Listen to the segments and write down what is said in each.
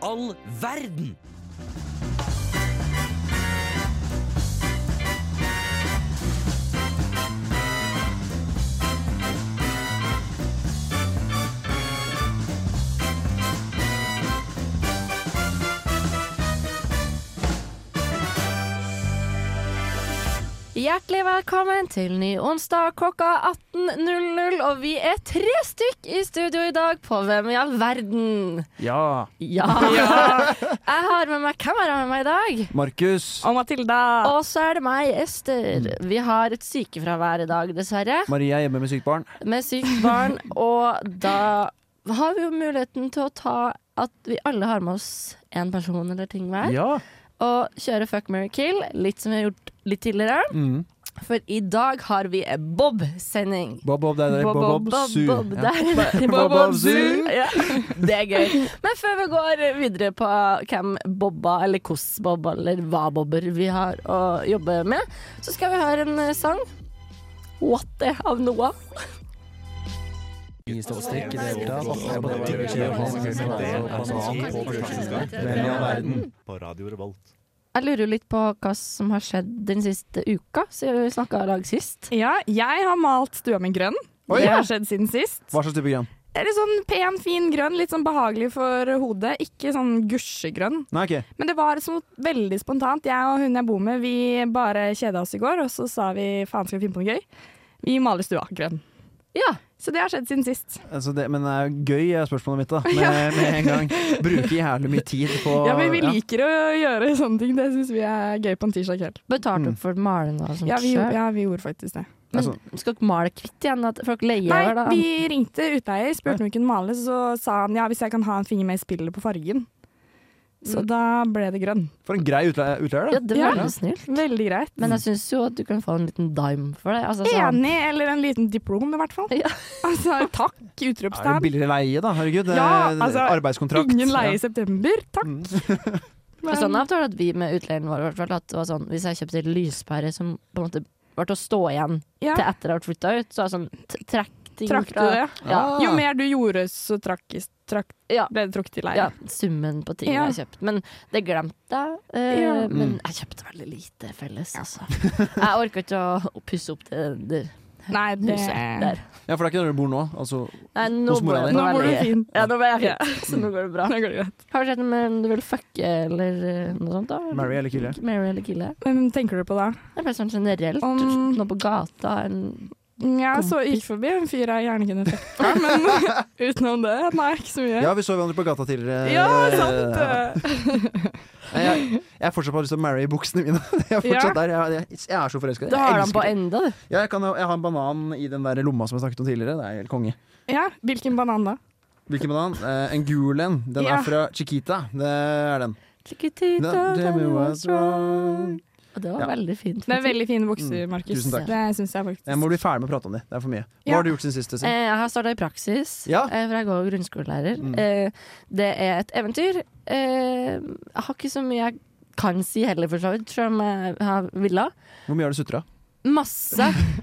all verden? Hjertelig velkommen til ny onsdag klokka 18.00. Og vi er tre stykk i studio i dag på Hvem i all verden? Ja. Ja! Jeg har med meg Hvem har jeg med meg i dag? Markus. Og Matilda. Og så er det meg, Ester. Vi har et sykefravær i dag, dessverre. Maria er hjemme med sykt barn. Med sykt barn. Og da har vi jo muligheten til å ta at vi alle har med oss én person eller ting hver. Ja. Og kjøre fuck, marry, kill, litt som vi har gjort litt tidligere. Mm. For i dag har vi en Bob-sending. Bob, Bob, der, der. Bob, Bob, Bob, Bob, Su. Bob, Ja. der. Bob, Bob, Su. Ja, det er gøy. Men før vi går videre på hvem Bobba, eller hvordan Bobba, eller hva Bobber vi har å jobbe med, så skal vi høre en eh, sang. What the av Noah. på Radio Revolt. Jeg lurer jo litt på hva som har skjedd den siste uka, siden vi snakka i lag sist. Ja, jeg har malt stua mi grønn. Oi. Det har skjedd siden sist. Hva slags type grønn? Det er Litt sånn pen, fin grønn, litt sånn behagelig for hodet. Ikke sånn gusjegrønn. Nei, ok. Men det var sånn veldig spontant. Jeg og hun jeg bor med, vi bare kjeda oss i går, og så sa vi faen skal vi finne på noe gøy. Vi maler stua grønn. Ja. Så det har skjedd siden sist. Altså det, men det er gøy er spørsmålet mitt, da. Med, med en gang. Bruke jævlig mye tid på Ja, men vi liker å gjøre sånne ting. Det syns vi er gøy på en tirsdag kveld. Betalte Mm. opp for malinga og sånt Ja, vi, selv. ja, vi gjorde faktisk det. altså, Men skal dere male kvitt igjen? At folk leier Nei, hver dag? vi ringte utleier, spurte om vi kunne male, så sa han ja, hvis jeg kan ha en finger med i spillet på fargen. Mm. Så da ble det grønn. For en grei utleier, utleier Ja, da. det var Ja. veldig snilt. Veldig greit. Men jeg syns jo at du kan få en liten dime for det. Altså, sånn- Enig, eller en liten diplom i hvert fall. Ja. Altså, takk, Er det utropstegn. billigere leie, da? Herregud. det er Ja, altså, arbeidskontrakt. Mm. Ingen leie i september, takk. For sånn avtale at vi med utleieren vår i hvert fall, at det var sånn, Hvis jeg kjøpte en lyspære som på en måte var til å stå igjen Ja, til etter jeg hadde flytta ut, så var det sånn t- trekk ting trakk du fra det? Ja. Ah. Jo mer du gjorde, så trakk, trakk, Ja. ble det trukket i leie. ja, summen på ting Ja. jeg har kjøpt. Men det glemte jeg. eh, Ja. Men Mm. jeg kjøpte veldig lite felles, altså. Jeg orka ikke å- å pusse opp det, det Nei, det huset der. Ja, for det er ikke der du bor nå? Altså, Nei, nå Hos bor mora jeg di. Nå nå går det veldig fint. Ja, nå ble jeg Ja. fint, så nå går det bra. Nå går det greit. Har du sett noe om du vil fucke eller eh, noe sånt? da? Marry eller kille? Marry eller kille. Hvem tenker du på da? Det er bare sånn generelt. Om- Noe på gata. En Jeg så gikk forbi en fyr jeg gjerne kunne fucka, men utenom det, nei, ikke så mye. ja, vi så hverandre på gata tidligere. Ja, Ja. sant. Nei, Jeg, jeg fortsatt har lyst til å marry buksene mine. Jeg er Ja. fortsatt der. Jeg, jeg, jeg er så forelska. Du har den på enda, du. Ja, jeg, kan, jo- jeg har en banan i den der lomma som jeg snakket om tidligere. Det er helt konge. Ja, hvilken banan da? Hvilken banan? Eh, en gul en. Den Ja. er fra Chiquita. Det er den. Chiquitita, Da- tell me tell me what's what's wrong. Og det var Ja. veldig fint. Det er veldig fine bukser, Mm, Markus. tusen takk. Det syns jeg faktisk. Jeg må bli ferdig med å prate om det. Det er for mye. Hva Ja. har du gjort siden sist? Eh, Sim? Jeg har starta i praksis, Ja. eh, for jeg går jo grunnskolelærer. Mm. Eh, Det er et eventyr. Eh, Jeg har ikke så mye jeg kan si heller, for så vidt, selv om jeg har villa. Hvor mye har du sutra? Masse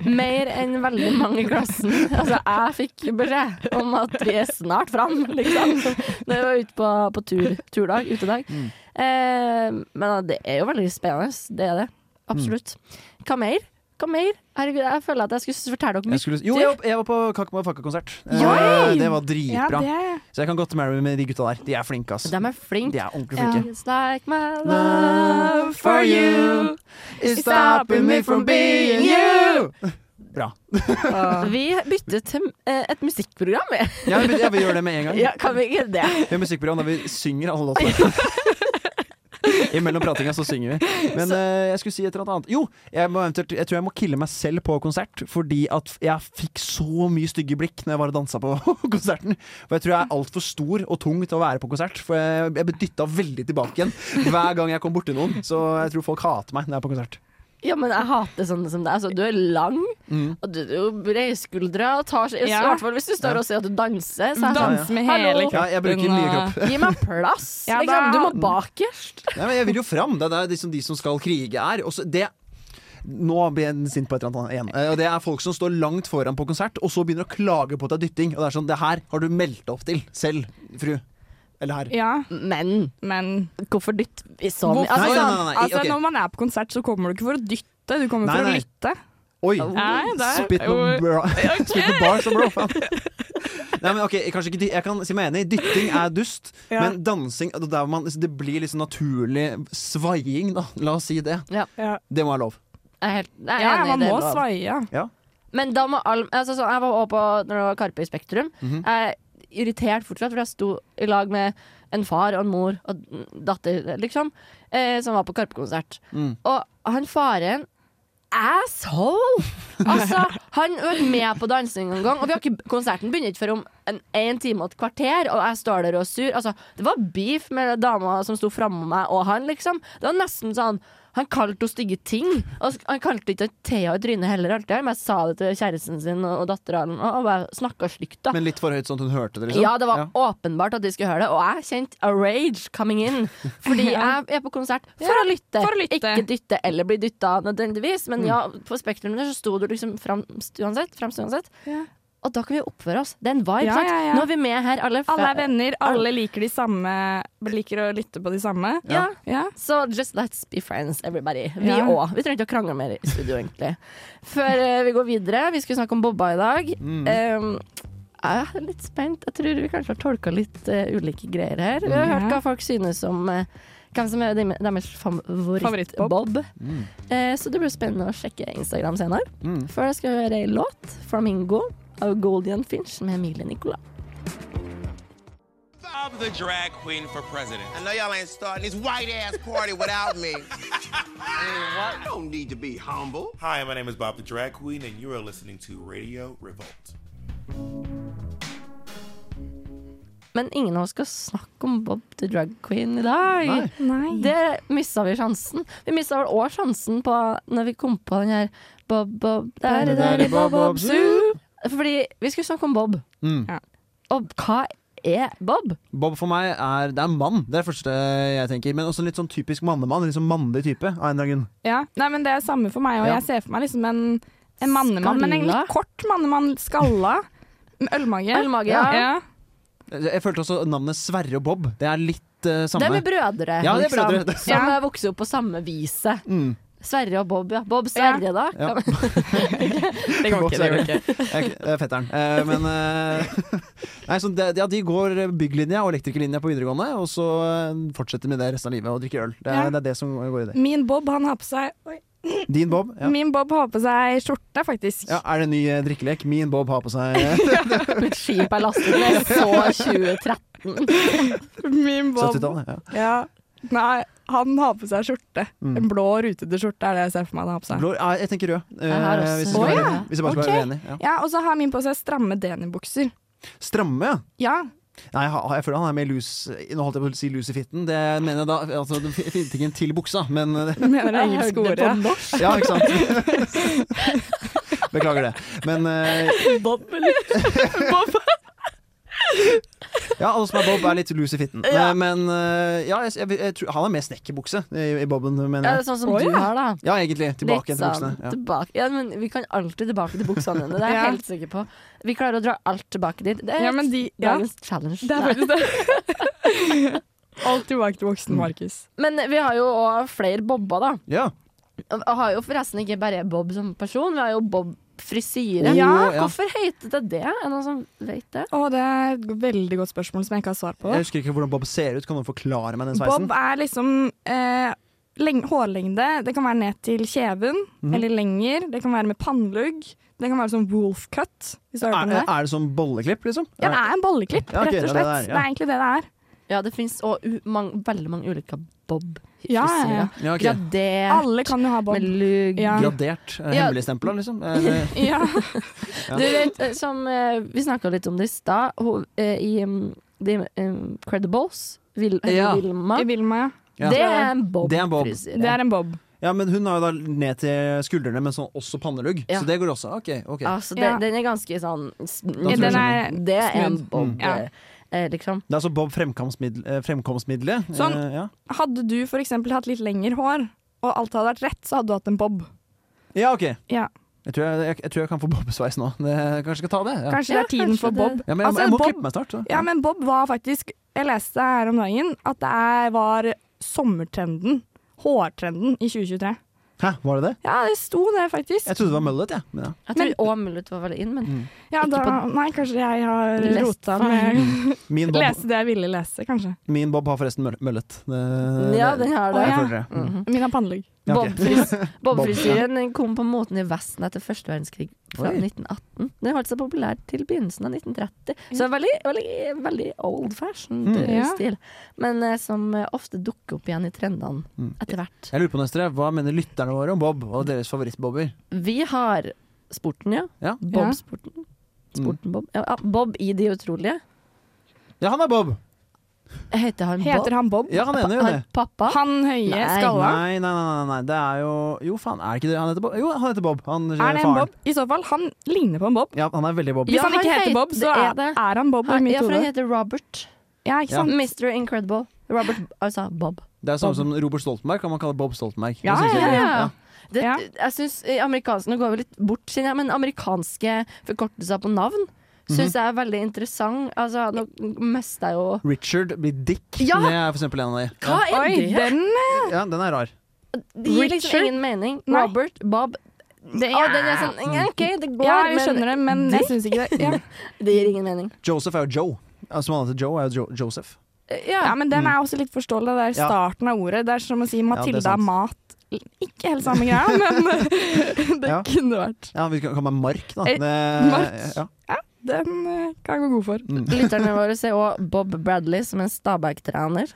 mer enn veldig mange i klassen. Altså, jeg fikk beskjed om at vi er snart fram, liksom. Da jeg var ute på, på tur, turdag, utedag. Mm. Eh, men det er jo veldig spennende, det er det. Absolutt. Hva mer? Hva mer? Herregud, jeg føler at jeg skulle fortelle dere Jeg mye. skulle, jo, jeg, var- jeg var på Kakma Fakka-konsert. Oi! Eh, det var Ja, dritbra. det Så jeg kan godt marry med de gutta der. De er flinke, ass. De er De flinke. er ordentlig Ja. flinke. It's like my love for you. It's stopping me from being you. Bra. Vi bytter til eh, et musikkprogram, vi. Ja, jeg, vil, jeg vil gjøre det med en gang. Ja, kan vi ikke det? Vi har musikkprogram der vi synger alle låtene. Imellom pratinga så synger vi. Men eh, jeg skulle si et eller annet. Jo, jeg, må, eventuelt- jeg tror jeg må kille meg selv på konsert. Fordi at jeg fikk så mye stygge blikk når jeg var og dansa på konserten. For jeg tror jeg er altfor stor og tung til å være på konsert. For jeg, jeg ble dytta veldig tilbake igjen hver gang jeg kom borti noen. Så jeg tror folk hater meg når jeg er på konsert. Ja, men jeg hater sånne som deg. Altså, du er lang, Mm. og du er jo breiskuldra. og tar seg- I Ja. hvert fall hvis du står og ser at du danser. Så er jeg sånn, Dans med hele Hallo. kroppen. Ja, jeg bruker mye og- kropp. Gi meg plass! Ja, liksom. da- Du må bakerst. Nei, men jeg vil jo fram. Det er de som, de som skal krige, er. Og så det nå blir jeg sint på et eller annet igjen. Eh, Og det er folk som står langt foran på konsert, og så begynner å klage på at det er dytting. Og det er sånn, det her har du meldt opp til selv, fru. Eller her. Ja, Men men hvorfor dytt i så Hvorfor? mye? Altså, Nei, nei, sånn- nei, nei, altså, ok. når man er på konsert, så kommer du ikke for å dytte, du kommer Nei, for nei. å lytte. Oi! Nei, det Spit er no jo- bra. Spit no bars, bro. Faen. Nei, men ok, kanskje ikke, dy- Jeg kan si meg enig. Dytting er dust, Ja. men dansing det er der man, Det blir liksom naturlig svaiing, da. La oss si det. Ja, Det må være lov. Jeg er helt, jeg er ja enig i man det, må Blav. svaie. Men da må all, altså, sånn, Jeg var også på når det var Karpe i Spektrum. Mhm. Jeg er irritert fortsatt, for jeg sto i lag med en far og en mor og datter, liksom, eh, som var på Karpe-konsert. Mm. Og han faren Asshole! Altså, han var med på dansing en gang, og vi har ikke, konserten begynner ikke før om en, en time og et kvarter, og jeg står der og er sur. Altså, det var beef med dama som sto framme meg, og han, liksom. Det var nesten sånn Han kalte henne stygge ting. Og sk- han kalte ikke Thea i trynet heller, alltid, men jeg sa det til kjæresten sin og, og dattera og, og bare snakka stygt, da. Men litt for høyt, sånn at hun hørte det, liksom. Ja, det var åpenbart at de skulle høre det, og jeg kjente a rage coming in. Fordi jeg er på konsert for, Ja, å lytte. for å lytte. Ikke dytte eller bli dytta nødvendigvis, men ja, på Spektrum der så sto du liksom fremst uansett. Fremst uansett. Ja. Og da kan vi oppføre oss. Det er en vibe. Ja, sant? ja, ja. Nå er vi med her, alle. Alle er venner, alle liker de samme Liker å lytte på de samme. Ja. Ja. Så just let's be friends, everybody. Vi Ja. òg. Vi trenger ikke å krangle mer i studio, egentlig. Før eh, vi går videre, vi skulle snakke om Bobba i dag. Um, jeg er litt spent. Jeg tror vi kanskje har tolka litt eh, ulike greier her. Vi har hørt hva folk synes om eh, hvem som er dem- deres Favorittbob. favoritt-Bob. Eh, så det blir spennende å sjekke Instagram senere. Før jeg skal høre ei låt, 'Flamingo' av Goldian Finch med Emilie Nicolas. I'm the drag queen for president. I know y'all ain't starting this white ass party without me. I don't need to be humble. Hi, my name is Bob the Drag Queen, and you are listening to Radio Revolt. Men ingen av oss skal snakke om Bob the Drag Queen i dag. Nei. Det missa vi sjansen. Vi missa vel òg sjansen på når vi kom på den her Bob, Bob, der, der, der, Bob, Bob, Zoo. Fordi vi skulle snakke om Bob. Mm. Ja. Og hva er Bob? Bob for meg er Det er en mann, det er det første jeg tenker. Men også en litt sånn typisk mannemann. Litt sånn mannlig type. Av en dragen. Ja. Nei, men det er samme for meg, og Ja. jeg ser for meg liksom en, en mannemann, men en Skalla. litt kort mannemann, skalla, med ølmage. Ølmage, ja. ja. Jeg jeg følte også navnet Sverre og Bob. Det er litt eh, Det samme. er med brødre, Ja, det er liksom, brødre. som ja. vokser opp på samme viset. Mm. Sverre og Bob, ja. Bob Sverre, da. Ja. Kan- Det går går ikke, det ikke, går Jeg- det er Fetteren. Eh, men eh, Nei, så det, ja, de går bygglinja og elektrikerlinja på videregående, og så eh, fortsetter med det resten av livet og drikker øl. Det er, Ja. det, er det som går i det. Min Bob, han har på seg Oi. Din Bob. Ja. Min Bob har på seg skjorte, faktisk. Ja, er det en ny eh, drikkelek? Min Bob har på seg Mitt skip er lastet ned så 2013. Min Bob. 70-tallet. Ja. Ja. Nei, han har på seg skjorte. Mm. En blå, rutete skjorte er det jeg ser for meg han har på seg. Blå, ja, jeg tenker rød. eh, Jeg har også- hvis, Å, jeg skal være, ja. hvis jeg bare skal Ok. være uenig. Ja. Ja, og så har min på seg stramme denibukser. Stramme, ja. Ja. Nei, jeg, har- jeg føler han er mer loose Nå holdt jeg på å si loose i fitten. Det mener jeg da altså, Den fi- fintingen til buksa, men eh, Mener det Jeg engelske hørte det på ordet. norsk. Ja, ikke sant? Beklager det. Men eh, Bob, eller? Bob. Ja, alle som er Bob, er litt loose i fitten. Eh, Men eh, ja, jeg, jeg, jeg tror, han er mer snekkerbukse i, i Boben, Ja, det mener er jeg. sånn som Å, du ja. har, da. Ja, egentlig. Tilbake Litt til buksene. sånn, Ja. Tilbake. Ja, men vi kan alltid tilbake til buksene dine. Det er jeg Ja. helt sikker på. Vi klarer å dra alt tilbake dit. Det er Ja, men de ja. dagens challenge. Det er Nei. faktisk det. Alt tilbake til voksen, Markus. Men vi har jo òg flere Bobber, da. Ja. Og Jeg har jo forresten ikke bare Bob som person, vi har jo Bob frisyre. Å, Oh, ja. Hvorfor heter det det? Er det noen som vet det? Å, det er et veldig godt spørsmål som jeg ikke har svar på. Jeg husker ikke hvordan Bob ser ut. Kan noen forklare meg den sveisen? Bob er liksom eh, leng hårlengde. Det kan være ned til kjeven, Mhm. eller lenger. Det kan være med pannlugg. Det kan være sånn wolf cut. Hvis du har er, hørt om det. er det som bolleklipp, liksom? Ja, det er en bolleklipp, Ah, Ja, ok, rett det og er slett. det Det er, der, ja. egentlig det det er. Ja, det fins veldig mange ulike Ja, ja, ja. Bob-frisyrer. Ja, ok. Gradert, Alle kan jo ha bob. med lugg Ja. Gradert. eh, Ja. Hemmeligstempla, liksom? Eh, Ja. Du vet, eh, som eh, vi snakka litt om det i stad, ho- eh, i um, The um, Credibles, Vil, eller Ja. Vilma, I Vilma, ja. Ja. det er en Det er en bob. Bob-frisyre. Det er en bob. ja, men hun har jo da ned til skuldrene, men sånn også pannelugg. Ja. Så det går også. Ok. ok Altså, det, Ja. Den er ganske sånn s- jeg sånn. Den skjønner. er Det er en smooth. bob, Ja. eh, eh, liksom. Det er altså Bob fremkomstmiddel, eh, fremkomstmiddelet. Sånn. Eh, ja. Hadde du for eksempel hatt litt lengre hår, og alt hadde vært rett, så hadde du hatt en bob. ja, ok. Ja. Jeg tror jeg, jeg, jeg, tror jeg kan få bobbesveis nå. Det, kanskje jeg skal ta det? Ja, Kanskje det Ja, er tiden kanskje for det- Bob. ja men jeg, Altså, jeg må Bob- klippe meg snart. Så. Ja, men Bob var faktisk Jeg leste her om dagen at det er, var sommertrenden. Hårtrenden i 2023. Hæ, var det det? Ja, det sto det, faktisk. Jeg trodde det var mullet, jeg. Ja. Men ja. Jeg tror òg mullet var veldig inn, men Mm. Ja, ikke da, på- nei, kanskje jeg har Lest rota feil. med Min, bob, Lese det jeg ville lese, kanskje. min bob har forresten møl- mullet. Det- Ja, den har det. Å, ja. Mhm. Jeg føler det. Mm. Min er pannelugg. Ja, ok. Bob-frys- Bob-frisyren kom på moten i Vesten etter første verdenskrig fra Oi. 1918. Den holdt seg populær til begynnelsen av 1930. Så veldig, veldig, veldig old fashioned Mm. eh, Ja. stil, men eh, som eh, ofte dukker opp igjen i trendene Mm. etter hvert. Jeg lurer på Nestre, Hva mener lytterne våre om Bob og deres favorittbobber? Vi har sporten, ja. Ja. Mm. Bob-sporten. Sporten Bob. Ja, Bob i Det utrolige. ja, han er Bob! Heter han Bob? Heter han Bob? Ja, han ene gjør det. Har pappa? Han høye, Nei. skalla? Nei, nei, nei, nei, nei, det er jo Jo, faen, er det ikke det han heter Bob? Jo, han heter Bob. Han, Er det en Bob? I så fall, han ligner på en Bob. Ja, han er veldig Bob. Hvis Ja, han ikke han heter het- Bob, så det er er, det. er han Bob i mitt ja, for han hode. heter Robert. Ja, ikke sant? Mr. Incredible. Robert, altså Bob. Det er samme som Robert Stoltenberg. Kan man kalle Bob Stoltenberg? Ja, Det synes jeg- ja, Det, Ja. Jeg synes amerikanske, Nå går vi litt bort, kjenner jeg, men amerikanske forkortelser på navn syns Mhm. jeg er veldig interessant. Altså, nå mister jeg jo Richard blir Dick. Ja! Det er for eksempel en av de. Hva er Oi, det? den Ja, den er rar. Det gir liksom Richard? ingen mening. Nei. Robert, Bob det Å, den er sånn ja, OK, det går, Ja, jeg skjønner det, men jeg syns ikke det. Ja. men det gir ingen mening. Joseph er jo Joe. Ja, Som han heter Joe, er jo jo Joseph. ja, men den er også litt forståelig. Det er Ja. starten av ordet. Det er som å si det er Matilda sant. er mat. Ikke helt samme greia, men eh, det Ja. kunne vært. Ja, Vi kan kalle meg Mark, da. Eh, Det, Mark? Ja. Den eh, kan jeg gå Mm. god for. Lytterne våre ser også Bob Bradley som en Stabæk-trener.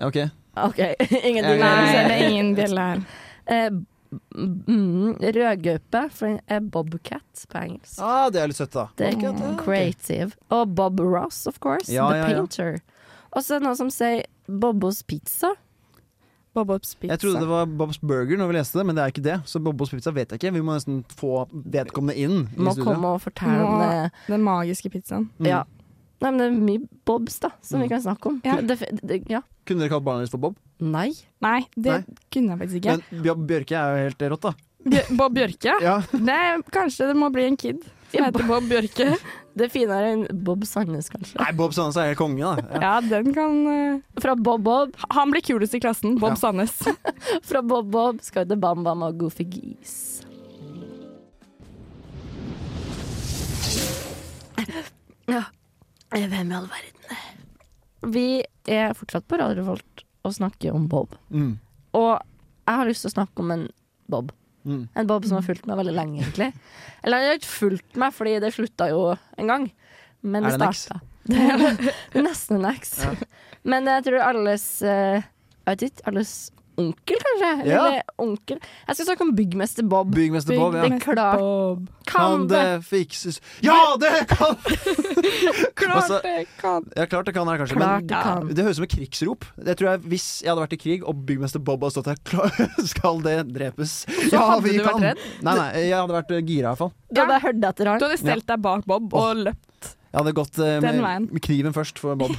Ok. OK, ingenting. Nei, mer å si. det er ingen bjelle her. Eh, mm, Rødgaupe, for den er Bobcat på engelsk. Ah, det er litt søtt, da. Det er creative. Og Bob Ross, of course. Ja, the ja, ja. painter. Og så er det noen som sier Bobbos pizza. Bob-Obs pizza. Jeg trodde det var Bobs Burger når vi leste det, men det er ikke det. Så Bobbos pizza vet jeg ikke. Vi må nesten få vedkommende inn i Må studio. komme og fortelle om Må- det. Den magiske pizzaen. Mm. Ja. Nei, men det er mye Bobs da, som vi kan snakke om. Ja. Det, det, ja. Kunne dere kalt barna deres for Bob? Nei. Nei, det Nei. kunne jeg faktisk ikke. Men Bjør- Bjørke er jo helt rått, da. Bjør- Bob Bjørke? Ja. Det, kanskje det må bli en kid som heter Bob Bjørke. Det er finere enn Bob Sandnes, kanskje. Nei, Bob Sandnes er helt konge, da. Ja, den kan eh, Fra Bob Bob, Han blir kulest i klassen. Bob Ja. Sandnes. fra Bob Bob skal vi til Bam Bam og Goofy Geese. Ja. Hvem i all verden? Vi er fortsatt på Radio Revolt og snakker om Bob. Mm. Og jeg har lyst til å snakke om en Bob. Mm. En Bob som har fulgt meg veldig lenge, egentlig. Eller han har ikke fulgt meg, fordi det slutta jo en gang. Men Er det, det en eks? starta. Det er Nesten en eks. Men jeg tror alles eh, Jeg vet ikke. Alles onkel, kanskje? Ja. Eller onkel. Jeg skal snakke om byggmester Bob. Byggmester Bob, ja. Det er klart. Bob. Kan det fikses Ja, det kan! Klart Altså- det kan. Ja, klart det kan her, kanskje. Klart Men det kan. det høres ut som et krigsrop. Jeg tror jeg, Hvis jeg hadde vært i krig, og byggmester Bob hadde stått her, klar, skal det drepes? Så hadde du vært redd? Nei, nei, jeg hadde vært eh, gira iallfall. Du hadde hørt etter Du han. hadde stelt deg bak Bob og løpt. Jeg hadde gått eh, Den med, veien. med kniven først for Bob.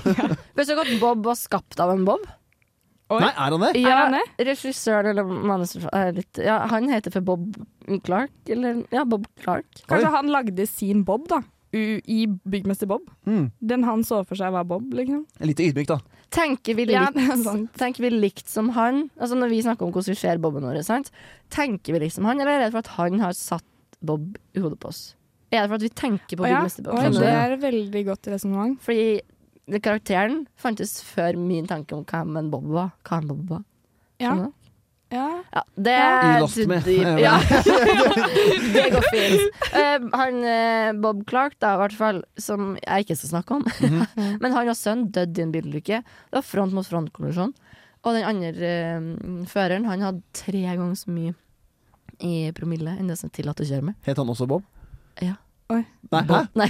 Vet du at Bob var skapt av en Bob? Oi. Nei, er han det? Ja, han det? regissøren eller manusforfatteren litt- ja, Han heter for Bob Clark. Eller, ja, Bob Clark. Kanskje Oi. han lagde sin Bob, da. U I Byggmester Bob. Mm. Den han så for seg var Bob, liksom. Litt ydmyk, da. Tenker vi litt Ja, det er sant. Tenker vi likt som han? Altså Når vi snakker om hvordan vi ser Boben vår, sant? tenker vi likt som han, eller er jeg redd for at han har satt Bob i hodet på oss? Er det for at vi tenker på Å ja. Byggmester Bob? Oi, Skjønner det du? er veldig godt resonnement. Fordi den karakteren fantes før min tanke om hva en Bob var. Hva en Bob var. Ja. Skjønner du? ja. Ja, det You lost me. dyp- Ja. det går fint. Eh, han eh, Bob Clark, da, i hvert fall, som jeg ikke skal snakke om, men han og sønnen døde i en bilulykke. Det var front mot front-kollisjon. Og den andre eh, føreren, han hadde tre ganger så mye i promille enn det som er tillatt å kjøre med. Het han også Bob? Ja. Oi. Nei, hæ? Nei.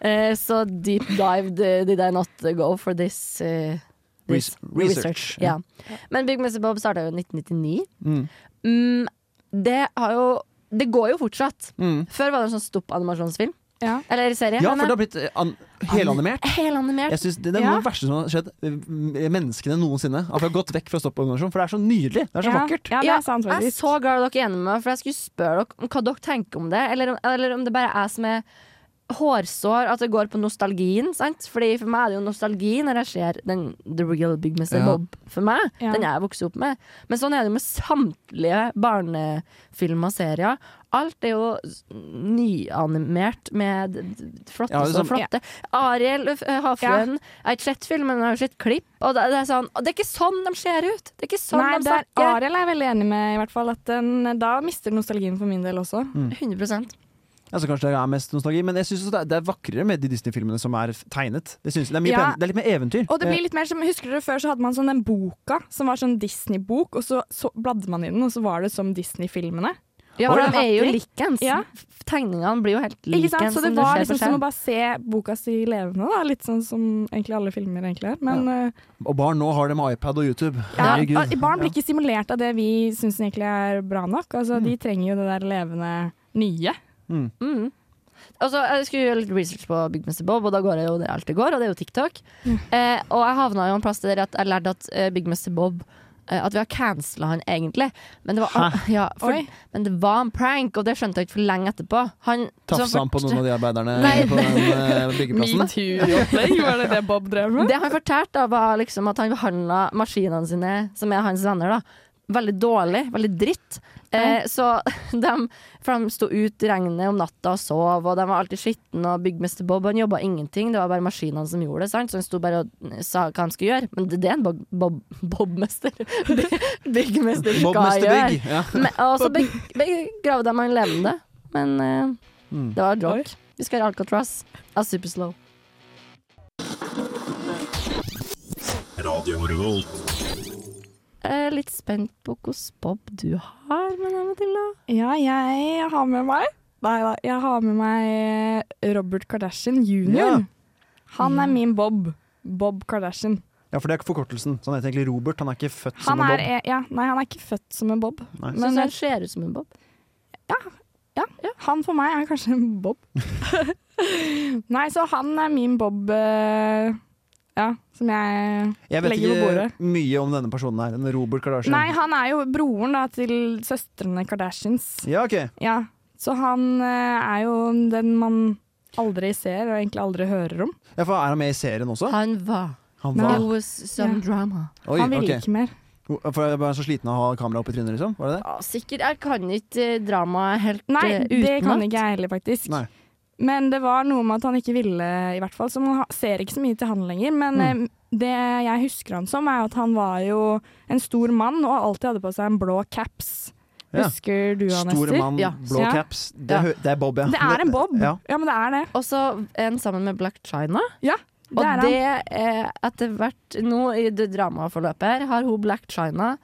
Eh, Så deep dive the- did I not go for this, eh, this Res- research. Ja. Men Big Mr. Bob starta jo i 1999. Mm. Mm, det har jo Det går jo fortsatt. Mm. Før var det en sånn stopp animasjonsfilm. Ja. Eller serie. Ja, men, for det har blitt eh, an helanimert. Helanimert. Jeg synes det, det er noe Ja. av det verste som har skjedd eh, menneskene noensinne. At vi har gått vekk fra stopporganisasjonen, for det er så nydelig. Det er så ja. vakkert. Ja, det Ja, er sant, jeg er faktisk. så glad dere er enige med meg, for jeg skulle spørre dere om hva dere tenker om det. Eller, om- eller om det bare er jeg som er hårsår, at det går på nostalgien. Sant? Fordi For meg er det jo nostalgi når jeg ser den, The Real Big Mr. Ja. Bob. For meg, Ja. Den jeg vokste opp med. Men sånn er det jo med samtlige barnefilmer og serier. Alt er jo s- nyanimert med d- d- flotte Ja, det er og sånn- flotte. Ariel ø, Havfruen. Jeg har ikke sett filmen, men jeg har jo sett klipp. Og det, det, er sånn, og det er ikke sånn de ser ut! Det er ikke sånn Nei, de der, snakker. Ariel er jeg veldig enig med, i hvert fall. At den, da mister nostalgien for min del også. Mm. 100 Ja, så Altså, kanskje det er mest nostalgi, men jeg synes også det, er- det er vakrere med de Disney-filmene som er f- tegnet. Det, synes, jeg. det, er mye Ja. pen- det er litt mer eventyr. Og det blir litt mer som, Husker dere før så hadde man sånn den boka som var sånn Disney-bok, og så, så bladde man i den, og så var det som Disney-filmene. Ja, for Har de du er jo hatt det? likens. Ja. F- Tegningene blir jo helt Ikke likens. sant? Så det som du var ser på liksom som skjerm. å bare se boka si levende, da. Litt sånn som egentlig alle filmer egentlig er. Men eh, Og barn nå har det med iPad og YouTube. ja, Herregud. og barn blir ikke stimulert av det vi syns egentlig er bra nok. Altså, De trenger jo det der levende nye. Mm. Og så Jeg skulle gjøre litt research på Big Mr. Bob, og da går jeg jo der alt det går, og det er jo TikTok. Mm. Eh, og jeg havna jo en plass der at jeg lærte at eh, Big Mr. Bob eh, At vi har cancela han egentlig. Men det, var, ja, for, Oi. men det var en prank, og det skjønte jeg ikke for lenge etterpå. Han, Tafsa han på noen av de arbeiderne Nei, på den eh, byggeplassen? da? Metoo-jobben, var det det Bob drev med? Det han fortalte, da, var liksom at han behandla maskinene sine, som er hans venner, da, veldig dårlig. Veldig dritt. Eh, så de, for de sto ut i regnet om natta og sov, og de var alltid skitne. Og byggmester Bob han jobba ingenting, det var bare maskinene som gjorde det. Sant? Så han sto bare og sa hva han skulle gjøre. Men det, det er en Bob- Bob- Bob-mester. byggmester skal Bobmester gjøre. Big. Ja. Men, og så be- begravde de han levende. Men eh, det var joke. Vi skal gjøre Alcatraz av Superslow. Jeg er litt spent på hvordan Bob du har med deg, Matilda. Ja, jeg har med meg Nei da, jeg har med meg eh, Robert Kardashian jr. Ja. Han Mm. er min Bob. Bob Kardashian. ja, for det er ikke forkortelsen. Så han heter egentlig Robert. Han er ikke født Han som en er, e- Bob. ja, nei, han er ikke født som en Bob. Nei. Men Men hun ser ut som en Bob. han for meg er kanskje en Bob. nei, så han er min Bob eh, Ja, som jeg Jeg vet legger på bordet. ikke mye om denne personen her. Denne Robert Kardashian. Nei, han er jo broren da, til søstrene Kardashians. Ja, ok. Ja, Så han eh, er jo den man aldri ser og egentlig aldri hører om. Ja, for er han med i serien også? Han var. Han Nei. var There was some Ja. drama. Oi, han ville ok. ikke mer. For jeg var så sliten av å ha kamera opp i trynet, liksom? Var det det? Ja, sikkert. Jeg kan ikke eh, dramaet helt Nei, eh, det kan utenat. ikke jeg heller, faktisk. Nei. Men det var noe med at han ikke ville, i hvert fall. Så man ha- ser ikke så mye til han lenger. Men Mm. eh, det jeg husker han som, er at han var jo en stor mann og alltid hadde på seg en blå caps. Ja. Husker du han, Stor Ester? mann, Ja. blå Ja. caps. Det, Ja. hø- det er Bob, ja. Det er en Bob. Ja. Ja, men det er det. Og så en sammen med Black China. Ja, Og det er han. det eh, etter hvert nå i det dramaforløpet her, har hun Black China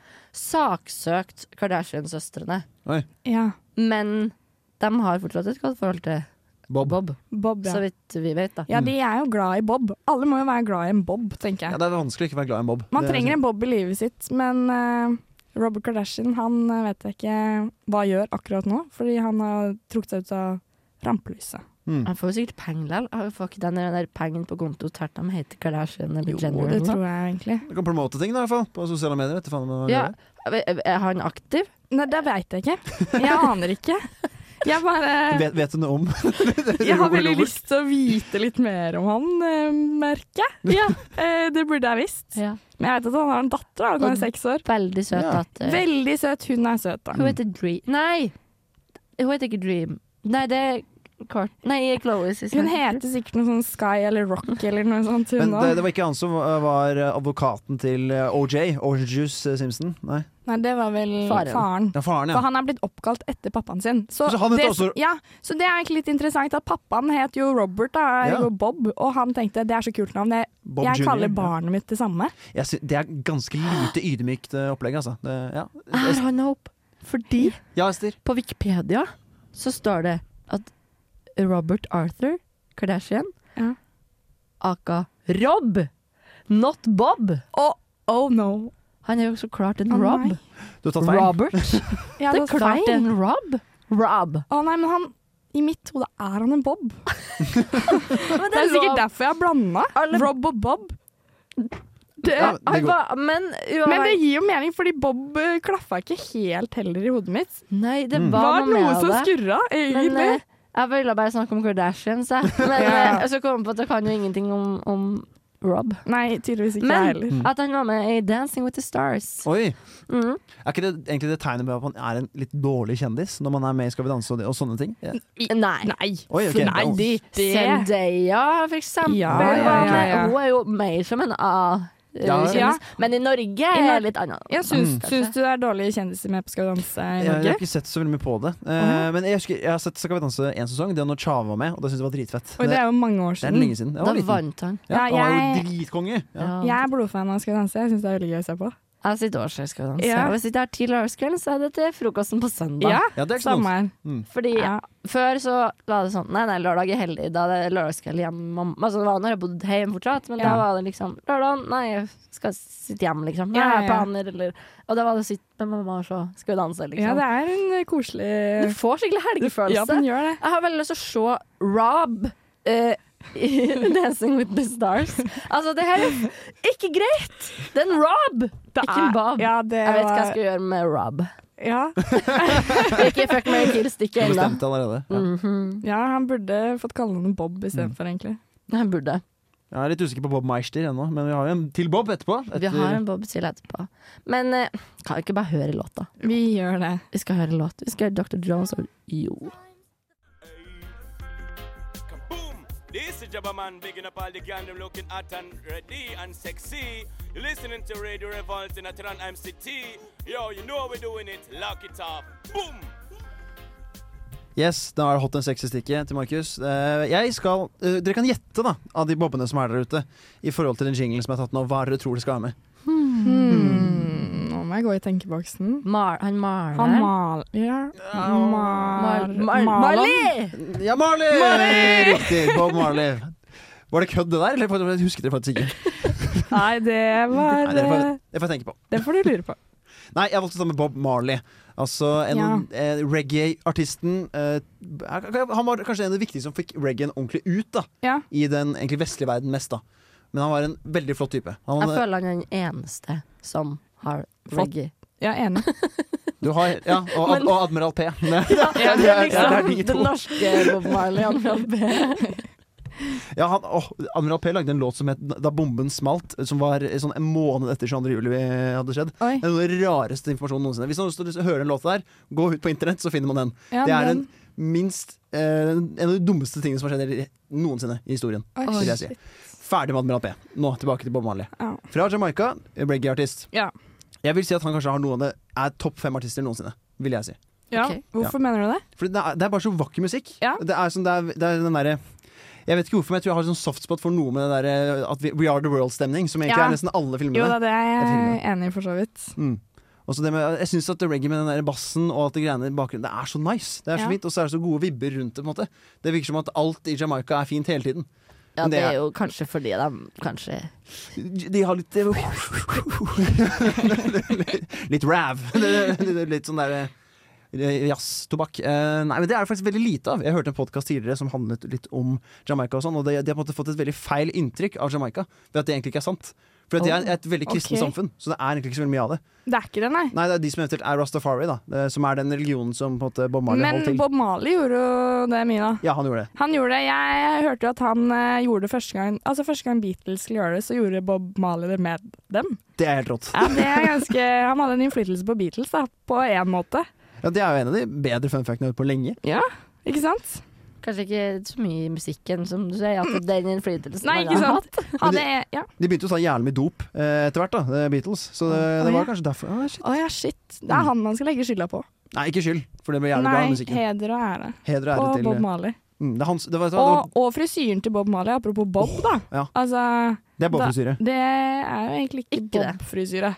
saksøkt Kardashian-søstrene. Ja. Men de har fortsatt et godt forhold til Bob. Bob, Bob, så ja. vidt vi vet, da. Ja, de er jo glad i Bob. Alle må jo være glad i en Bob, tenker Mm. Ja, jeg. det er vanskelig å ikke være glad i en Bob. Man Det er- liksom- trenger en Bob i livet sitt, men eh, Robert Kardashian han eh, vet jeg ikke hva gjør akkurat nå, fordi han har trukket seg ut av rampelyset. Han får jo sikkert penger likevel. Har jo Får ikke den den der pengen på konto tert om heter Kardashian eller Jo, Jenner? eller Det noe. tror jeg egentlig. Du kan promote ting, da, i hvert fall. På sosiale medier. Vet du faen hva man Ja, gjør. er han aktiv? Nei, det veit jeg ikke. Jeg aner ikke. Jeg bare Vet, vet du noe om eh, Jeg har Robert? veldig lyst til å vite litt mer om han, eh, merker jeg. Ja, eh, det burde jeg visst. Men jeg vet at han har en datter, da. Hun er seks år. Veldig søt Ja. datter. Veldig søt. Hun er søt, da. Hun heter Dream Nei! Hun heter ikke Dream. Nei, det er Court... Nei, Chloe. Hun heter sikkert noe sånn Sky eller Rock eller noe sånt. Men Hun det, også. det var ikke han som var var advokaten til eh, OJ? Orange Juice eh, Simpson? Nei. Nei, det var vel Faren. faren. Det er faren, For ja. han er blitt oppkalt etter pappaen sin. Så, Så han heter det, også- ja, så det er egentlig litt interessant at pappaen het jo Robert, da, Ja. eller Bob, og han tenkte det er så kult navn, jeg, Bob jeg Jr., ja. kaller barnet mitt det samme. Jeg sy det er ganske lite ydmykt eh, opplegg, altså. Det, ja. Ah. Er han opp? Fordi ja, Ester. på Wikipedia så står det at Robert Arthur Kardashian Ja. aka Rob, not Bob. Oh, oh no. Han er jo så klart en Å, nei. Rob. Du har tatt feil. Robert. Ja, det er så klart feil. en Rob. Rob. Å nei, men han i mitt hode er han en Bob. Men Det er sikkert lov. derfor jeg har blanda Alle- Rob og Bob. Det, Ja, det han går. var- men Men det uavhengig gir jo mening, fordi Bob eh, klaffa ikke helt heller i hodet mitt. Nei, Mm. det Det var var noe noe med som det. skurra, Men egentlig. eh, jeg ville bare snakke om Kardashians, jeg. Men Ja. eh, så kom jeg på at jeg kan jo ingenting om, om Rob. Nei, tydeligvis ikke jeg heller. Men at han var med i Dancing with the Stars. Oi! Mm. Er ikke det egentlig det tegnet på at man er en litt dårlig kjendis når man er med i Skal vi danse og, det- og sånne ting? Ja. Nei. Nei. Oi, ok. Nei, de, det Zendaya, for eksempel. Ja, ja, var med. ja, ja. Hun er jo mer som en Ja. A-kjendis. Ja. Men i Norge I er Nor- det litt annet. Jeg Mm. syns, syns du det er dårlige kjendiser med på Skal vi danse i Jeg, jeg Norge? har ikke sett så veldig mye på det. Eh, Men jeg, husker, jeg har sett Skal vi danse én sesong. Det var når Chava var med, og det syns jeg var dritfett. Oi, det er jo mange år det er siden. lenge siden. Da Jeg var liten. vant han. Ja, Ja, Han var jo jeg- dritkonge! Ja. Ja. Jeg er blodfan av Skal vi danse. Jeg syns det er veldig gøy å se på. Jeg sitter og ser Skal vi danse. Ja. Og hvis ikke det er tidlig lørdagskvelden, så er det til frokosten på søndag. Ja, Ja, det er ikke så samme her. Fordi Ja. Før så var det sånn Nei, nei, lørdag er heldig. Da er det lørdagskveld hjemme. Altså, det var når jeg bodde hjemme fortsatt, men da Ja. var det liksom lørdag Nei, jeg skal sitte hjemme, liksom. Nei, Ja, jeg har ja. planer, eller Og da var det å sitte med mamma og så skal vi danse, Ja, liksom. det er en eh, koselig du får skikkelig Ja, helgefølelse. den gjør det. jeg har veldig lyst til å se Rob eh, i Dancing with the Stars. Altså, det her er ikke greit! Det er en Rob, ikke en Bob. Ja, det jeg vet hva jeg var- skal gjøre med Rob. ja. Ikke fuck meg kill-stykket ennå. Bestemte allerede. Mm. Ja. ja, han burde fått kalle han Bob Mm. istedenfor, egentlig. Jeg burde. Jeg er litt usikker på Bob Meister ennå, men vi har jo en til Bob etterpå. Vi Etter, har en Bob Dylan etterpå. Men eh, kan vi ikke bare høre låta? Vi gjør det. Vi skal høre låt. Vi skal høre Dr. Jones og Jo. Boom! This is Jabba Man bigging up all the gang, them looking hot and ready and sexy. You're listening to Radio Revolt in Atran MCT. Yo, you know how we're doing it. Lock it up. Boom! Yes, da er det hot and sexy-stikket til Markus. Eh, jeg skal, eh, Dere kan gjette da, av de bobbene som er der ute, i forhold til den jinglen som jeg har tatt nå. Hva dere tror det skal være med? Mm. Hmm. Nå må jeg gå i tenkeboksen. Mar han maler. Han mal... Ja. Mal... Mar- Mar- Marley! Ja, Marley! Riktig. Bob Marley. Var det kødd, det der? Eller husket dere faktisk ikke? Nei, det var Nei, det, får, eh, det får jeg tenke på. Det får du lure på. Nei, jeg valgte å ta med Bob Marley. Altså en Ja. eh, reggae-artisten. eh, han var kanskje en av de viktige som fikk reggaen ordentlig ut da, Ja. i den egentlig vestlige verden mest. da Men han var en veldig flott type. Han, Jeg føler han er den eneste som har reggae. Jeg er enig. du har, ja, og, Men- og Admiral P. Det, det, er- det er de to. den norske Bob Marley. Han fra B. Ja, han, åh, Admiral P lagde en låt som het 'Da bomben smalt', som var sånn en måned etter 22. juli hadde skjedd. Oi. Det er noe av det rareste informasjonen noensinne. Hvis noen har lyst til å høre den låta der, gå ut på internett, så finner man den. Ja, det er den- den minst eh, En av de dummeste tingene som har skjedd i- noensinne i historien. Oi, vil jeg si. Ferdig med Admiral P. Nå tilbake til Bob Marley. Ja. Fra Jamaica, reggae-artist. Ja. Jeg vil si at han kanskje har noen av det er topp fem artister noensinne. Vil jeg si. ja. Ok. Hvorfor mener du det? Fordi det er, det er bare så vakker musikk. Ja. Det, er sånn, det, er, det er den derre Jeg vet ikke hvorfor, men jeg tror jeg har sånn softspot for noe med det derre at vi, We Are The World-stemning, som egentlig Ja. er nesten alle Jo da, filmene. det er jeg filmer. enig i, for så vidt. Og så det med, jeg syns at det reggae med den der bassen og alt det greiene i bakgrunnen, det er så nice. Det er så Ja. fint, og så er det så gode vibber rundt det, på en måte. Det virker som at alt i Jamaica er fint hele tiden. Ja, Men det det er- er jo kanskje fordi de kanskje De har litt Litt rav. Litt sånn derre Jazztobakk. Eh, Nei, men det er det faktisk veldig lite av. Jeg hørte en podkast tidligere som handlet litt om Jamaica og sånn, og de, de har på en måte fått et veldig feil inntrykk av Jamaica ved at det egentlig ikke er sant. For at det er et veldig kristent Ok. samfunn, så det er egentlig ikke så veldig mye av det. Det er ikke det, nei. Nei, det er de som eventuelt er Rastafari, da, eh, som er den religionen som på en måte Bob Marley holdt Men til. Bob Marley gjorde jo det mye, da. Ja, han gjorde det. Han gjorde det. Jeg hørte jo at han eh, gjorde det første gang Altså første gang Beatles skulle gjøre det, så gjorde Bob Marley det med dem. Det er helt rått. Ja, det er ganske Han hadde en innflytelse på Beatles, da, på én måte. Ja, det er jo en av de bedre fun factene jeg har hørt på lenge. Ja, ikke sant? Kanskje ikke så mye i musikken, som du sier. At den innflytelsen Nei, han ikke har hatt. sant? Hadde jeg, ja. De begynte jo å ta jævlig mye dop eh, etter hvert, da, eh, Beatles. Så det, Å, det ja. var kanskje derfor. Ah, shit. Å ja, shit. Det er han man skal legge skylda på. Nei, ikke skyld, for det ble jævlig bra Nei, musikken. heder og ære. Heder og På ære til Bob Marley. mm, det, er hans, det, var, det, var, Og, og frisyren til Bob Marley, apropos Bob, da. ja. Altså, det er da- Bob-frisyre. Det er jo egentlig ikke, Ikke det. Bob-frisyre.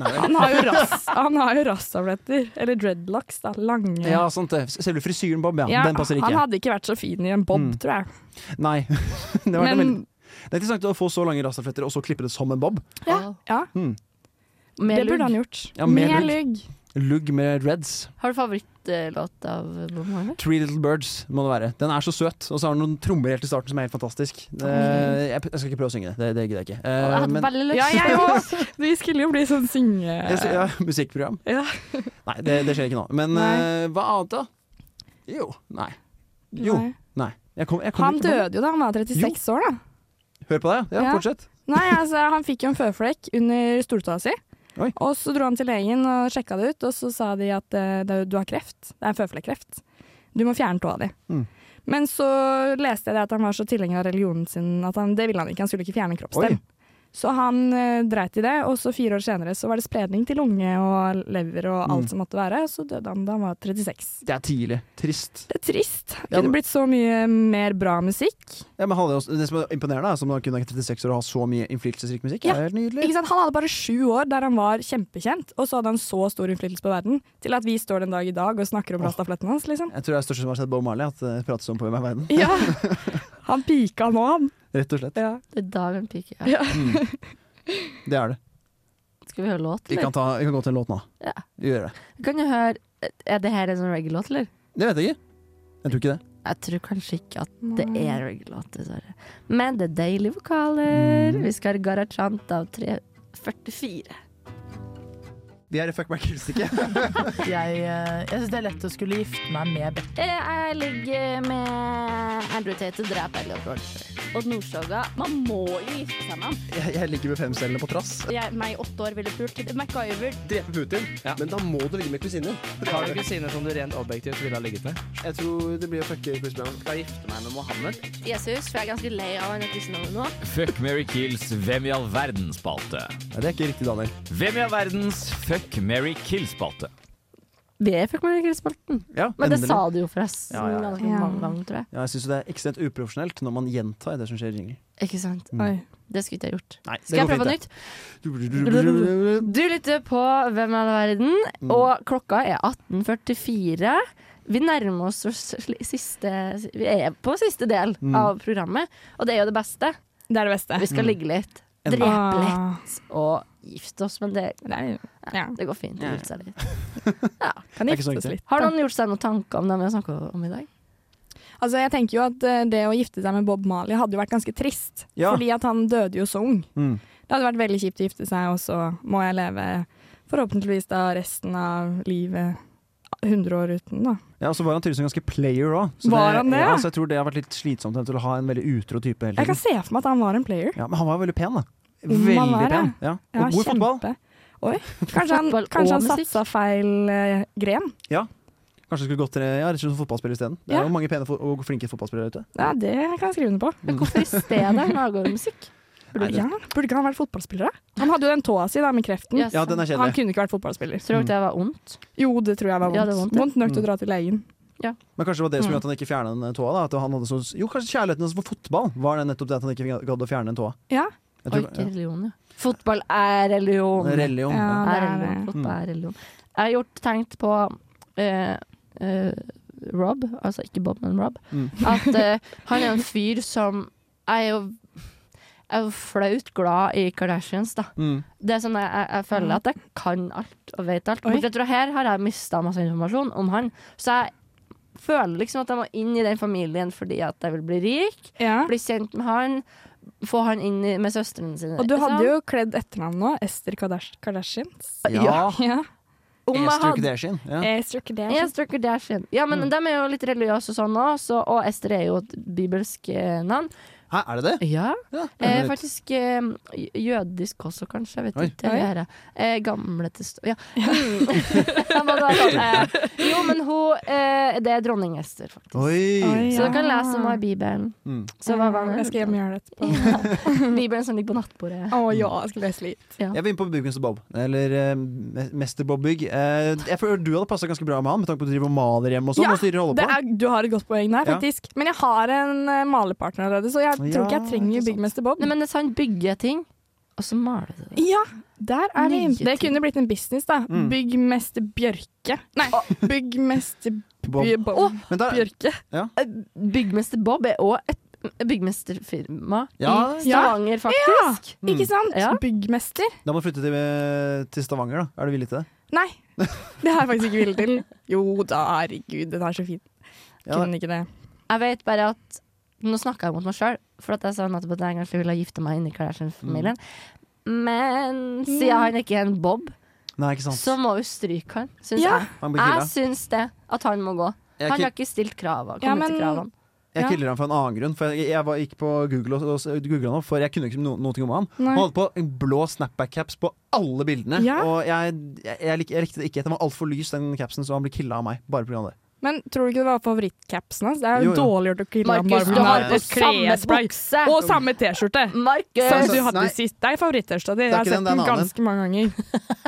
Nei, vel. Han har jo rass- han har jo rasstabletter. Eller dreadlocks, da. Lange. Ja, sant det. Selve frisyren Bob, ja. Ja, Den passer ikke. Han hadde ikke vært så fin i en bob, Mm. tror jeg. Nei. det, var Men veldig... det er interessant å få så lange rastafletter og så klippe det som en Bob. ja, Med det burde lugg. han gjort. Ja, med lugg. lugg. Lugg med Reds. Har du favorittlåt av Bob Marley? Three Little Birds må det være. Den er så søt. Og så har den noen trommer helt i starten som er helt fantastisk. Det, jeg, jeg skal ikke prøve å synge det. Det, det gidder jeg ikke. Eh, Jeg hadde men- veldig lyst. Ja, jeg òg! Vi skulle jo bli sånn synge... Jeg sy- ja, musikkprogram? Ja. Nei, det, det skjer ikke nå. Men Nei. eh, hva annet, da? Jo. Nei. Jo. Nei. Nei. Jeg kom, jeg kom Han ikke på- døde jo da han var 36 år, da. Hør på deg, ja. Ja. Fortsett. Nei, altså, han fikk jo en føflekk under stortåa si. Oi. Og så dro han til legen og sjekka det ut, og så sa de at eh, det er- du har kreft. Det er føflekkreft. Du må fjerne tåa di. Mm. Men så leste jeg det at han var så tilhenger av religionen sin at han, det ville han ikke. Han skulle ikke fjerne Oi. kroppsdel. Så han eh, dreit i det, og så fire år senere så var det spredning til lunge og lever og Mm. alt som måtte være, og så døde han da han var 36. Det er tidlig. Trist. Det er trist. Ja, Det kunne men- blitt så mye mer bra musikk. Ja, men hadde også, det som er imponerende, er som å kunne ha 36 år og ha så mye innflytelsesrik musikk. Ja. Det er helt nydelig. Ikke sant? Han hadde bare sju år der han var kjempekjent, og så hadde han så stor innflytelse på verden til at vi står den dag i dag og snakker om rastafletten hans, liksom. Jeg tror det er det største som har sett Bob Marley, at det prates om på Hvem er verden. Ja. Han pika nå, han. Rett og slett. Ja. Det er da vi piker. Ja. Ja. Det er det. Skal vi høre låt, Vi kan, eller? ta, vi kan gå til en låt nå. Ja. Vi gjør det. Kan du høre Er det her en sånn reggae-låt, eller? Det vet jeg ikke. Jeg tror ikke det. Jeg tror kanskje ikke at det er en reggae-låt, dessverre. Men det er deilige vokaler. Vi skal ha Garachant av 344. Vi er i Fuck meg ikke. Jeg, eh, jeg syns det er lett å skulle gifte meg med Beck. Eh, Jeg ligger med Andrew Tate, drep Elliot Rolfer. Odd Nordstoga. Man må jo gifte seg med ham. Jeg, jeg ligger med femcellene på trass. Jeg, meg i åtte år ville pult. MacGyver. Drepe Putin? Men da må du ligge med kusinen. Har du kusiner som du rent objektivt ville ha ligget med? Jeg tror det blir å fucke Chris Brown. Skal jeg gifte meg med Mohammed? Jesus, for jeg er ganske lei av han kristendommen nå. Fuck Mary Kills Hvem i all verden-spalte. Ja, det er ikke riktig, Daniel. Hvem i all verdens Fuck Mary Kill-spalte. Det fikk man i kristenspalten. Ja, Men det endelig. sa du jo forresten Ja, ja, ja. ganske mange ganger, tror jeg. Ja, jeg syns det er ekstremt uprofesjonelt når man gjentar det som skjer i jingler. Ikke sant? Oi. Mm. Det skulle ikke jeg gjort. Nei, Skal jeg prøve på nytt? Du lytter på Hvem er verden, og klokka er 18.44. Vi nærmer oss vår sli- siste Vi er på siste del av programmet, og det er jo det beste. Det er det beste. Vi skal ligge litt, Endelig. drepe litt og gifte oss, men det, Ah, det er, ja. det går fint. å gifte seg litt. Kan Det er ikke så gifte oss viktig. litt. Har noen gjort seg noen tanker om det vi har snakka om i dag? Altså, jeg tenker jo at eh, det å gifte seg med Bob Marley hadde jo vært ganske trist, Ja. fordi at han døde jo så ung. Mm. Det hadde vært veldig kjipt å gifte seg, og så må jeg leve forhåpentligvis da resten av livet 100 år uten, da. Ja, og så var han tydeligvis en ganske player òg. Var han det, Ja, ja? så jeg tror det har vært litt slitsomt til å ha en veldig utro type hele Jeg kan tiden. se for meg at han var en player. Ja, men han var jo veldig pen, da. Om Veldig han var det? pen. Ja. Og god i fotball. kjempe. Oi. Kanskje han, Fotball kanskje og han musikk. satsa feil eh, gren. Kanskje skulle gått til ja, rett og slett som fotballspiller isteden. Det er Ja. jo mange pene fo- og flinke fotballspillere ute. Ja, det kan jeg skrive under på. Men hvorfor i stedet Nagård-musikk? Nei, det- Ja, burde ikke han vært fotballspiller, da? Han hadde jo den tåa si da, med kreften. Ja, Ja, den er Han kjedelig. kunne ikke vært fotballspiller. Tror dere det var ondt? Jo, det tror jeg var vondt. Ja, det var vondt, vondt, ja. nok Mm. til å dra til legen. Men kanskje det var det Mm. som gjorde at han ikke fjerna den eh, tåa? da at han hadde så, Jo, kanskje kjærligheten hans for fotball var det nettopp det at han ikke gadd å fjerne den tåa. Ja, Jeg Og tror- ikke religion, ja. Fotball er religion. ja. Religion. Ja. Ja. er det er religion. det. Mm. Fotball er religion. Jeg har gjort tenkt på eh, eh, Rob, altså ikke Bob, men Rob, Mm. at eh, han er en fyr som Jeg er jo jeg er jo flaut glad i Kardashians, da. Mm. Det er sånn jeg, jeg, jeg føler at jeg kan alt og vet alt. Oi. Bortsett fra her har jeg mista masse informasjon om han. Så jeg føler liksom at jeg må inn i den familien fordi at jeg vil bli rik, ja. bli kjent med han, få han inn i- med søstrene sine. Og du ikke sant? hadde jo kledd etternavn nå. Ester Kardash Kardashians. ja. Ja. Eh, Om jeg Esther hadde Kardashian. Ja. Esther Ja, Mm. Kardashian. Esther Kardashian. Ja, men de er jo litt religiøse og sånn også, så- og Esther er jo et bibelsk eh, navn. Hæ, er det det? Ja. Ja, Eh, det er litt- faktisk eh, j- jødisk også, kanskje. Jeg vet Oi. ikke. Oi. Jeg er, eh, gamle test... Ja. Mm. Jeg må bare ta det. jo, men hun eh, Det er dronning Esther, faktisk. Oi! Oi. Så Ja. du kan lese om henne i Bibelen. Mm. Så hva var Jeg skal hjem og det? gjøre det etterpå. Ja. Bibelen som ligger på nattbordet. Å ja, jeg skal lese litt. Jeg vil inn på Byggens Bob, eller eh, Me- Mester Bob Bygg. Eh, jeg føler du hadde passa ganske bra med han, med tanke på at du driver og maler hjemme og sånn. Ja, og styrer og holder Det på. er, du har et godt poeng der, Ja. faktisk. Men jeg har en eh, malerpartner allerede, så jeg tror ikke jeg Ja, ikke trenger sant. byggmester Bob. Nei, men det er sånn bygge ting, og så maler du det. Ja, der er vi. Nye inne. Det ting. kunne blitt en business, da. Mm. Byggmester Bjørke. Nei, byggmester Bob. Bjø- Bob. Men da- Bjørke. Eh, Byggmester Bob er òg et byggmesterfirma Ja. i Stavanger, faktisk. mm. Ikke sant? Ja. Byggmester. eh, Da må du flytte til, til Stavanger, da. Er du villig til det? Nei, Det har jeg faktisk ikke villet til. Jo da, herregud, den er så fin. Kunne ikke det. Jeg vet bare at Nå snakka jeg mot meg sjøl, for at jeg sa nettopp at jeg egentlig ville gifte meg inni Kardashian-familien. Mm. Men siden han ikke er en Bob, Nei, ikke sant. så må vi stryke han, syns Ja. jeg. Han blir Jeg killa. syns det. At han må gå. Jeg Han ki- har ikke stilt kravene. Ja, Kommet til men- kravene. Jeg Ja. killer ham for en annen grunn. For jeg, jeg var, gikk på Google og, og googlet han opp, for jeg kunne ikke no, noe om han. Nei. Han hadde på en blå snapback-caps på alle bildene. Ja. Og jeg, jeg, jeg, lik, jeg likte det ikke. Den var altfor lys, den capsen, så han ble killa av meg. Bare på grunn av det. Men tror du ikke det var favorittcapsen hans? Det er jo, Jo, jo. dårlig gjort å kille ham Markus, du bare fordi har han på Mm. har samme klesplagg. bukse! Og samme T-skjorte! Som Markus! du hadde Nei. sist. Det er favorittøsta di. Jeg ikke den, har sett det er den en annen. ganske mange ganger.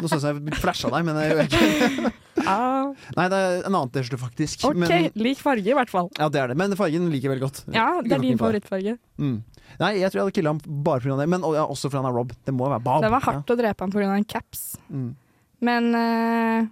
Nå synes jeg jeg flasha deg, men det gjør jeg ikke. Ah, Nei, det er en annen T-skjorte, faktisk. OK, Men, lik farge i hvert fall. ja, det er det. men fargen liker jeg veldig godt. Ja, det er Går din ikke på favorittfarge. Mm. Nei, jeg tror jeg hadde killa ham bare pga. det, men og, ja, også fordi han er Rob. Det må jo være Bob. Det var hardt å drepe ham pga. en caps. Ja. Mm. Men eh,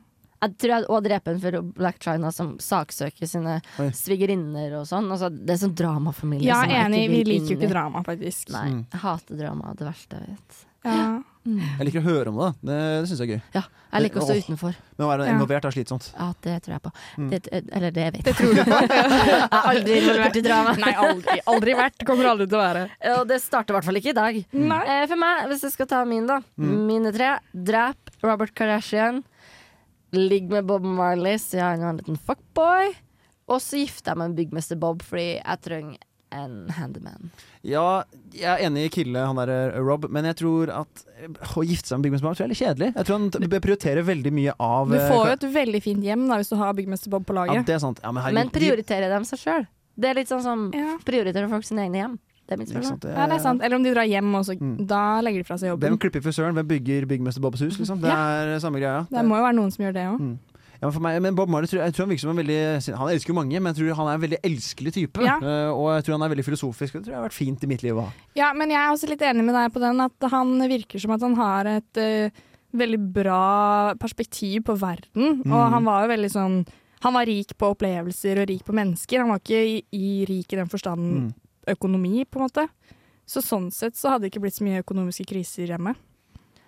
Jeg tror jeg òg dreper en for Black China, som saksøker sine Oi. svigerinner og sånn. Altså, det er sånn dramafamilie. ja, som jeg enig, ikke vi vil liker jo inn i. ikke drama, faktisk. Nei, Mm. jeg hater drama. Det verste jeg vet. Ja. Jeg liker å høre om det. Det, det syns jeg er gøy. Ja, jeg liker å stå Åh. utenfor. Men å være Ja. involvert er slitsomt. Ja, det tror jeg på. Mm. Det, eller det vet jeg. Det tror du på? jeg har aldri involvert i drama. Nei, aldri, aldri vært. Kommer aldri til å være. Og det starter i hvert fall ikke i dag. Mm. Mm. Nei. Eh, for meg, hvis jeg skal ta min, da. Mine tre. Drep Robert Kardashian. Ligg med Bob Marley, siden han var en liten fuckboy. Og så gifter jeg meg med byggmester Bob, fordi jeg trenger en handyman. Ja, jeg er enig i kille, han der eh, Rob, men jeg tror at eh, å gifte seg med Bigman Smart tror jeg er litt kjedelig. Jeg tror han t- bør prioritere veldig mye av Du eh, får jo ka- et veldig fint hjem da, hvis du har byggmester Bob på ja, laget. det er sant. Ja, men herregud, Men prioriterer de seg sjøl? Det er litt sånn som Ja. prioriterer folk sine egne hjem. Det er mitt Ikke sant, spørsmål. det- Ja, det er sant. Eller om de drar hjem, og så Mm. da legger de fra seg Hvem jobben. klipper frisøren? Hvem bygger byggmester Bobs hus? Liksom? Det er eh, samme greia. Det må jo være noen som gjør det òg. Ja, men for meg, men Bob Marley tror, jeg tror han virker som en veldig Han elsker jo mange, men jeg tror han er en veldig elskelig type. Ja. Eh, og jeg tror han er veldig filosofisk. og Det tror jeg har vært fint i mitt liv å ha. Ja, men jeg er også litt enig med deg på den at han virker som at han har et eh, veldig bra perspektiv på verden. Og han var jo veldig sånn Han var rik på opplevelser og rik på mennesker. Han var ikke i, i rik i den forstand Mm. økonomi, på en måte. Så sånn sett så hadde det ikke blitt så mye økonomiske kriser hjemme.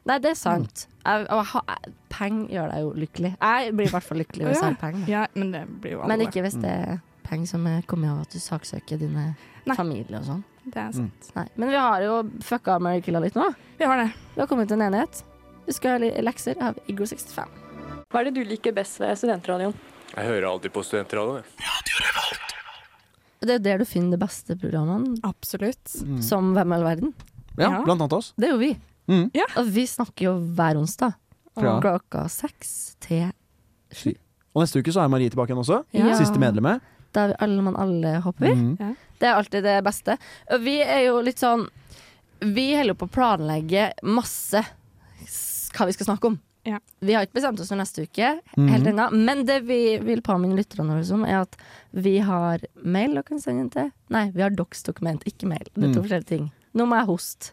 Nei, det er sant. Jeg, og jeg, har- jeg, peng gjør deg jo lykkelig. Jeg blir i hvert fall lykkelig hvis jeg har penger. Ja, men det blir jo alle. Men ikke hvis Mm. det er penger som er kommet av at du saksøker dine Nei. familier og sånn. Det er sant. Nei. Men vi har jo fucka Mary Killa litt nå. Vi har det. Vi har kommet til en enighet. Vi skal ha li- lekser av Iggo 65. Hva er det du liker best ved studentradioen? Jeg hører alltid på studentradioen. Og Det er jo der du finner de beste programmene, Absolutt. Mm. som Hvem i all verden. Ja, Ja. Blant annet oss. Det er jo vi. Mm. Ja. Og vi snakker jo hver onsdag Fra- klokka seks til Og neste uke så er Marie tilbake igjen også. Ja. Siste medlemmet. Da er vi alle mann alle hopper. Mm. Det er alltid det beste. Og vi er jo litt sånn Vi holder på å planlegge masse s- hva vi skal snakke om. Ja. Vi har ikke bestemt oss for neste uke, helt ennå. Men det vi vil påminne lytterne våre om, er at vi har mail dere kan sende inn til. Nei, vi har docs dokument, ikke mail. Det er to forskjellige ting. Nå må jeg hoste.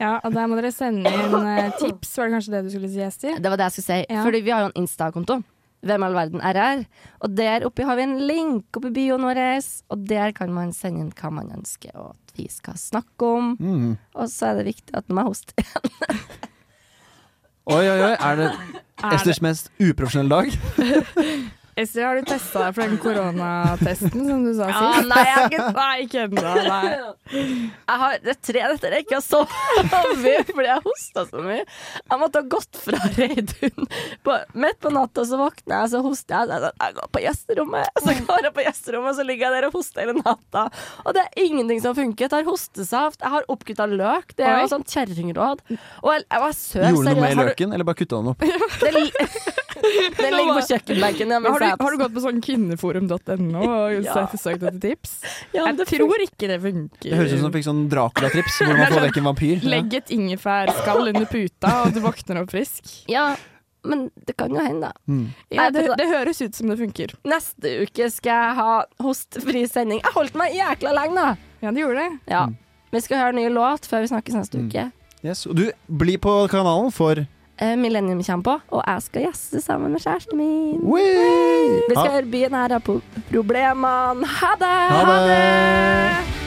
Ja, og der må dere sende inn eh, tips, var det kanskje det du skulle si, Esti? Det var det jeg skulle si. Ja. Fordi vi har jo en Insta-konto. Hvem i all verden RR. Og der oppe har vi en link oppe i bioen vår, og der kan man sende inn hva man ønsker og at vi skal snakke om. Mm. Og så er det viktig at man hoster. Oi, oi, oi. Er det Esters mest uprofesjonelle dag? Esti, har du testa deg for den koronatesten som du sa Ah, sist? nei, jeg har ikke Nei, ikke ennå. Nei. Jeg har det er tre netter jeg ikke har sovet fordi jeg hosta så mye. Jeg måtte ha gått fra Reidun. På, midt på natta så våkner jeg, så hoster jeg. Så jeg, sånn, jeg går på gjesterommet, så går jeg på gjesterommet, så ligger jeg der og hoster hele natta. Og det er ingenting som funker. Jeg tar hostesaft, jeg har oppkutta løk. Det er Oi. jo sånn kjerringråd. Og jeg, jeg var søt, Gjorde du noe seriøst. med Har du- løken, eller bare kutta den opp? Det, li- det ligger på kjøkkenbenken. Men har, du, har du gått på sånn kvinneforum.no og Ja. sett- søkt etter tips? Ja, men Jeg det tror ikke det funker. Det høres ut som du fikk sånn Dracula-trips, hvor man sånn får vekk en vampyr. Ja. Legg et ingefærskall under puta, og du våkner opp frisk. Ja, men det kan jo hende, da. Ja, det, det høres ut som det funker. Neste uke skal jeg ha hostfri sending. Jeg holdt meg jækla lenge, da. Ja, det gjorde det. Ja. Vi skal høre en ny låt før vi snakkes neste uke. Yes. Og du, bli på kanalen for Eh, Millennium kommer på, og jeg skal gjeste sammen med kjæresten min. Wee! Vi skal Ha- høre byen her har pro- problemene. Ha det! Ha det!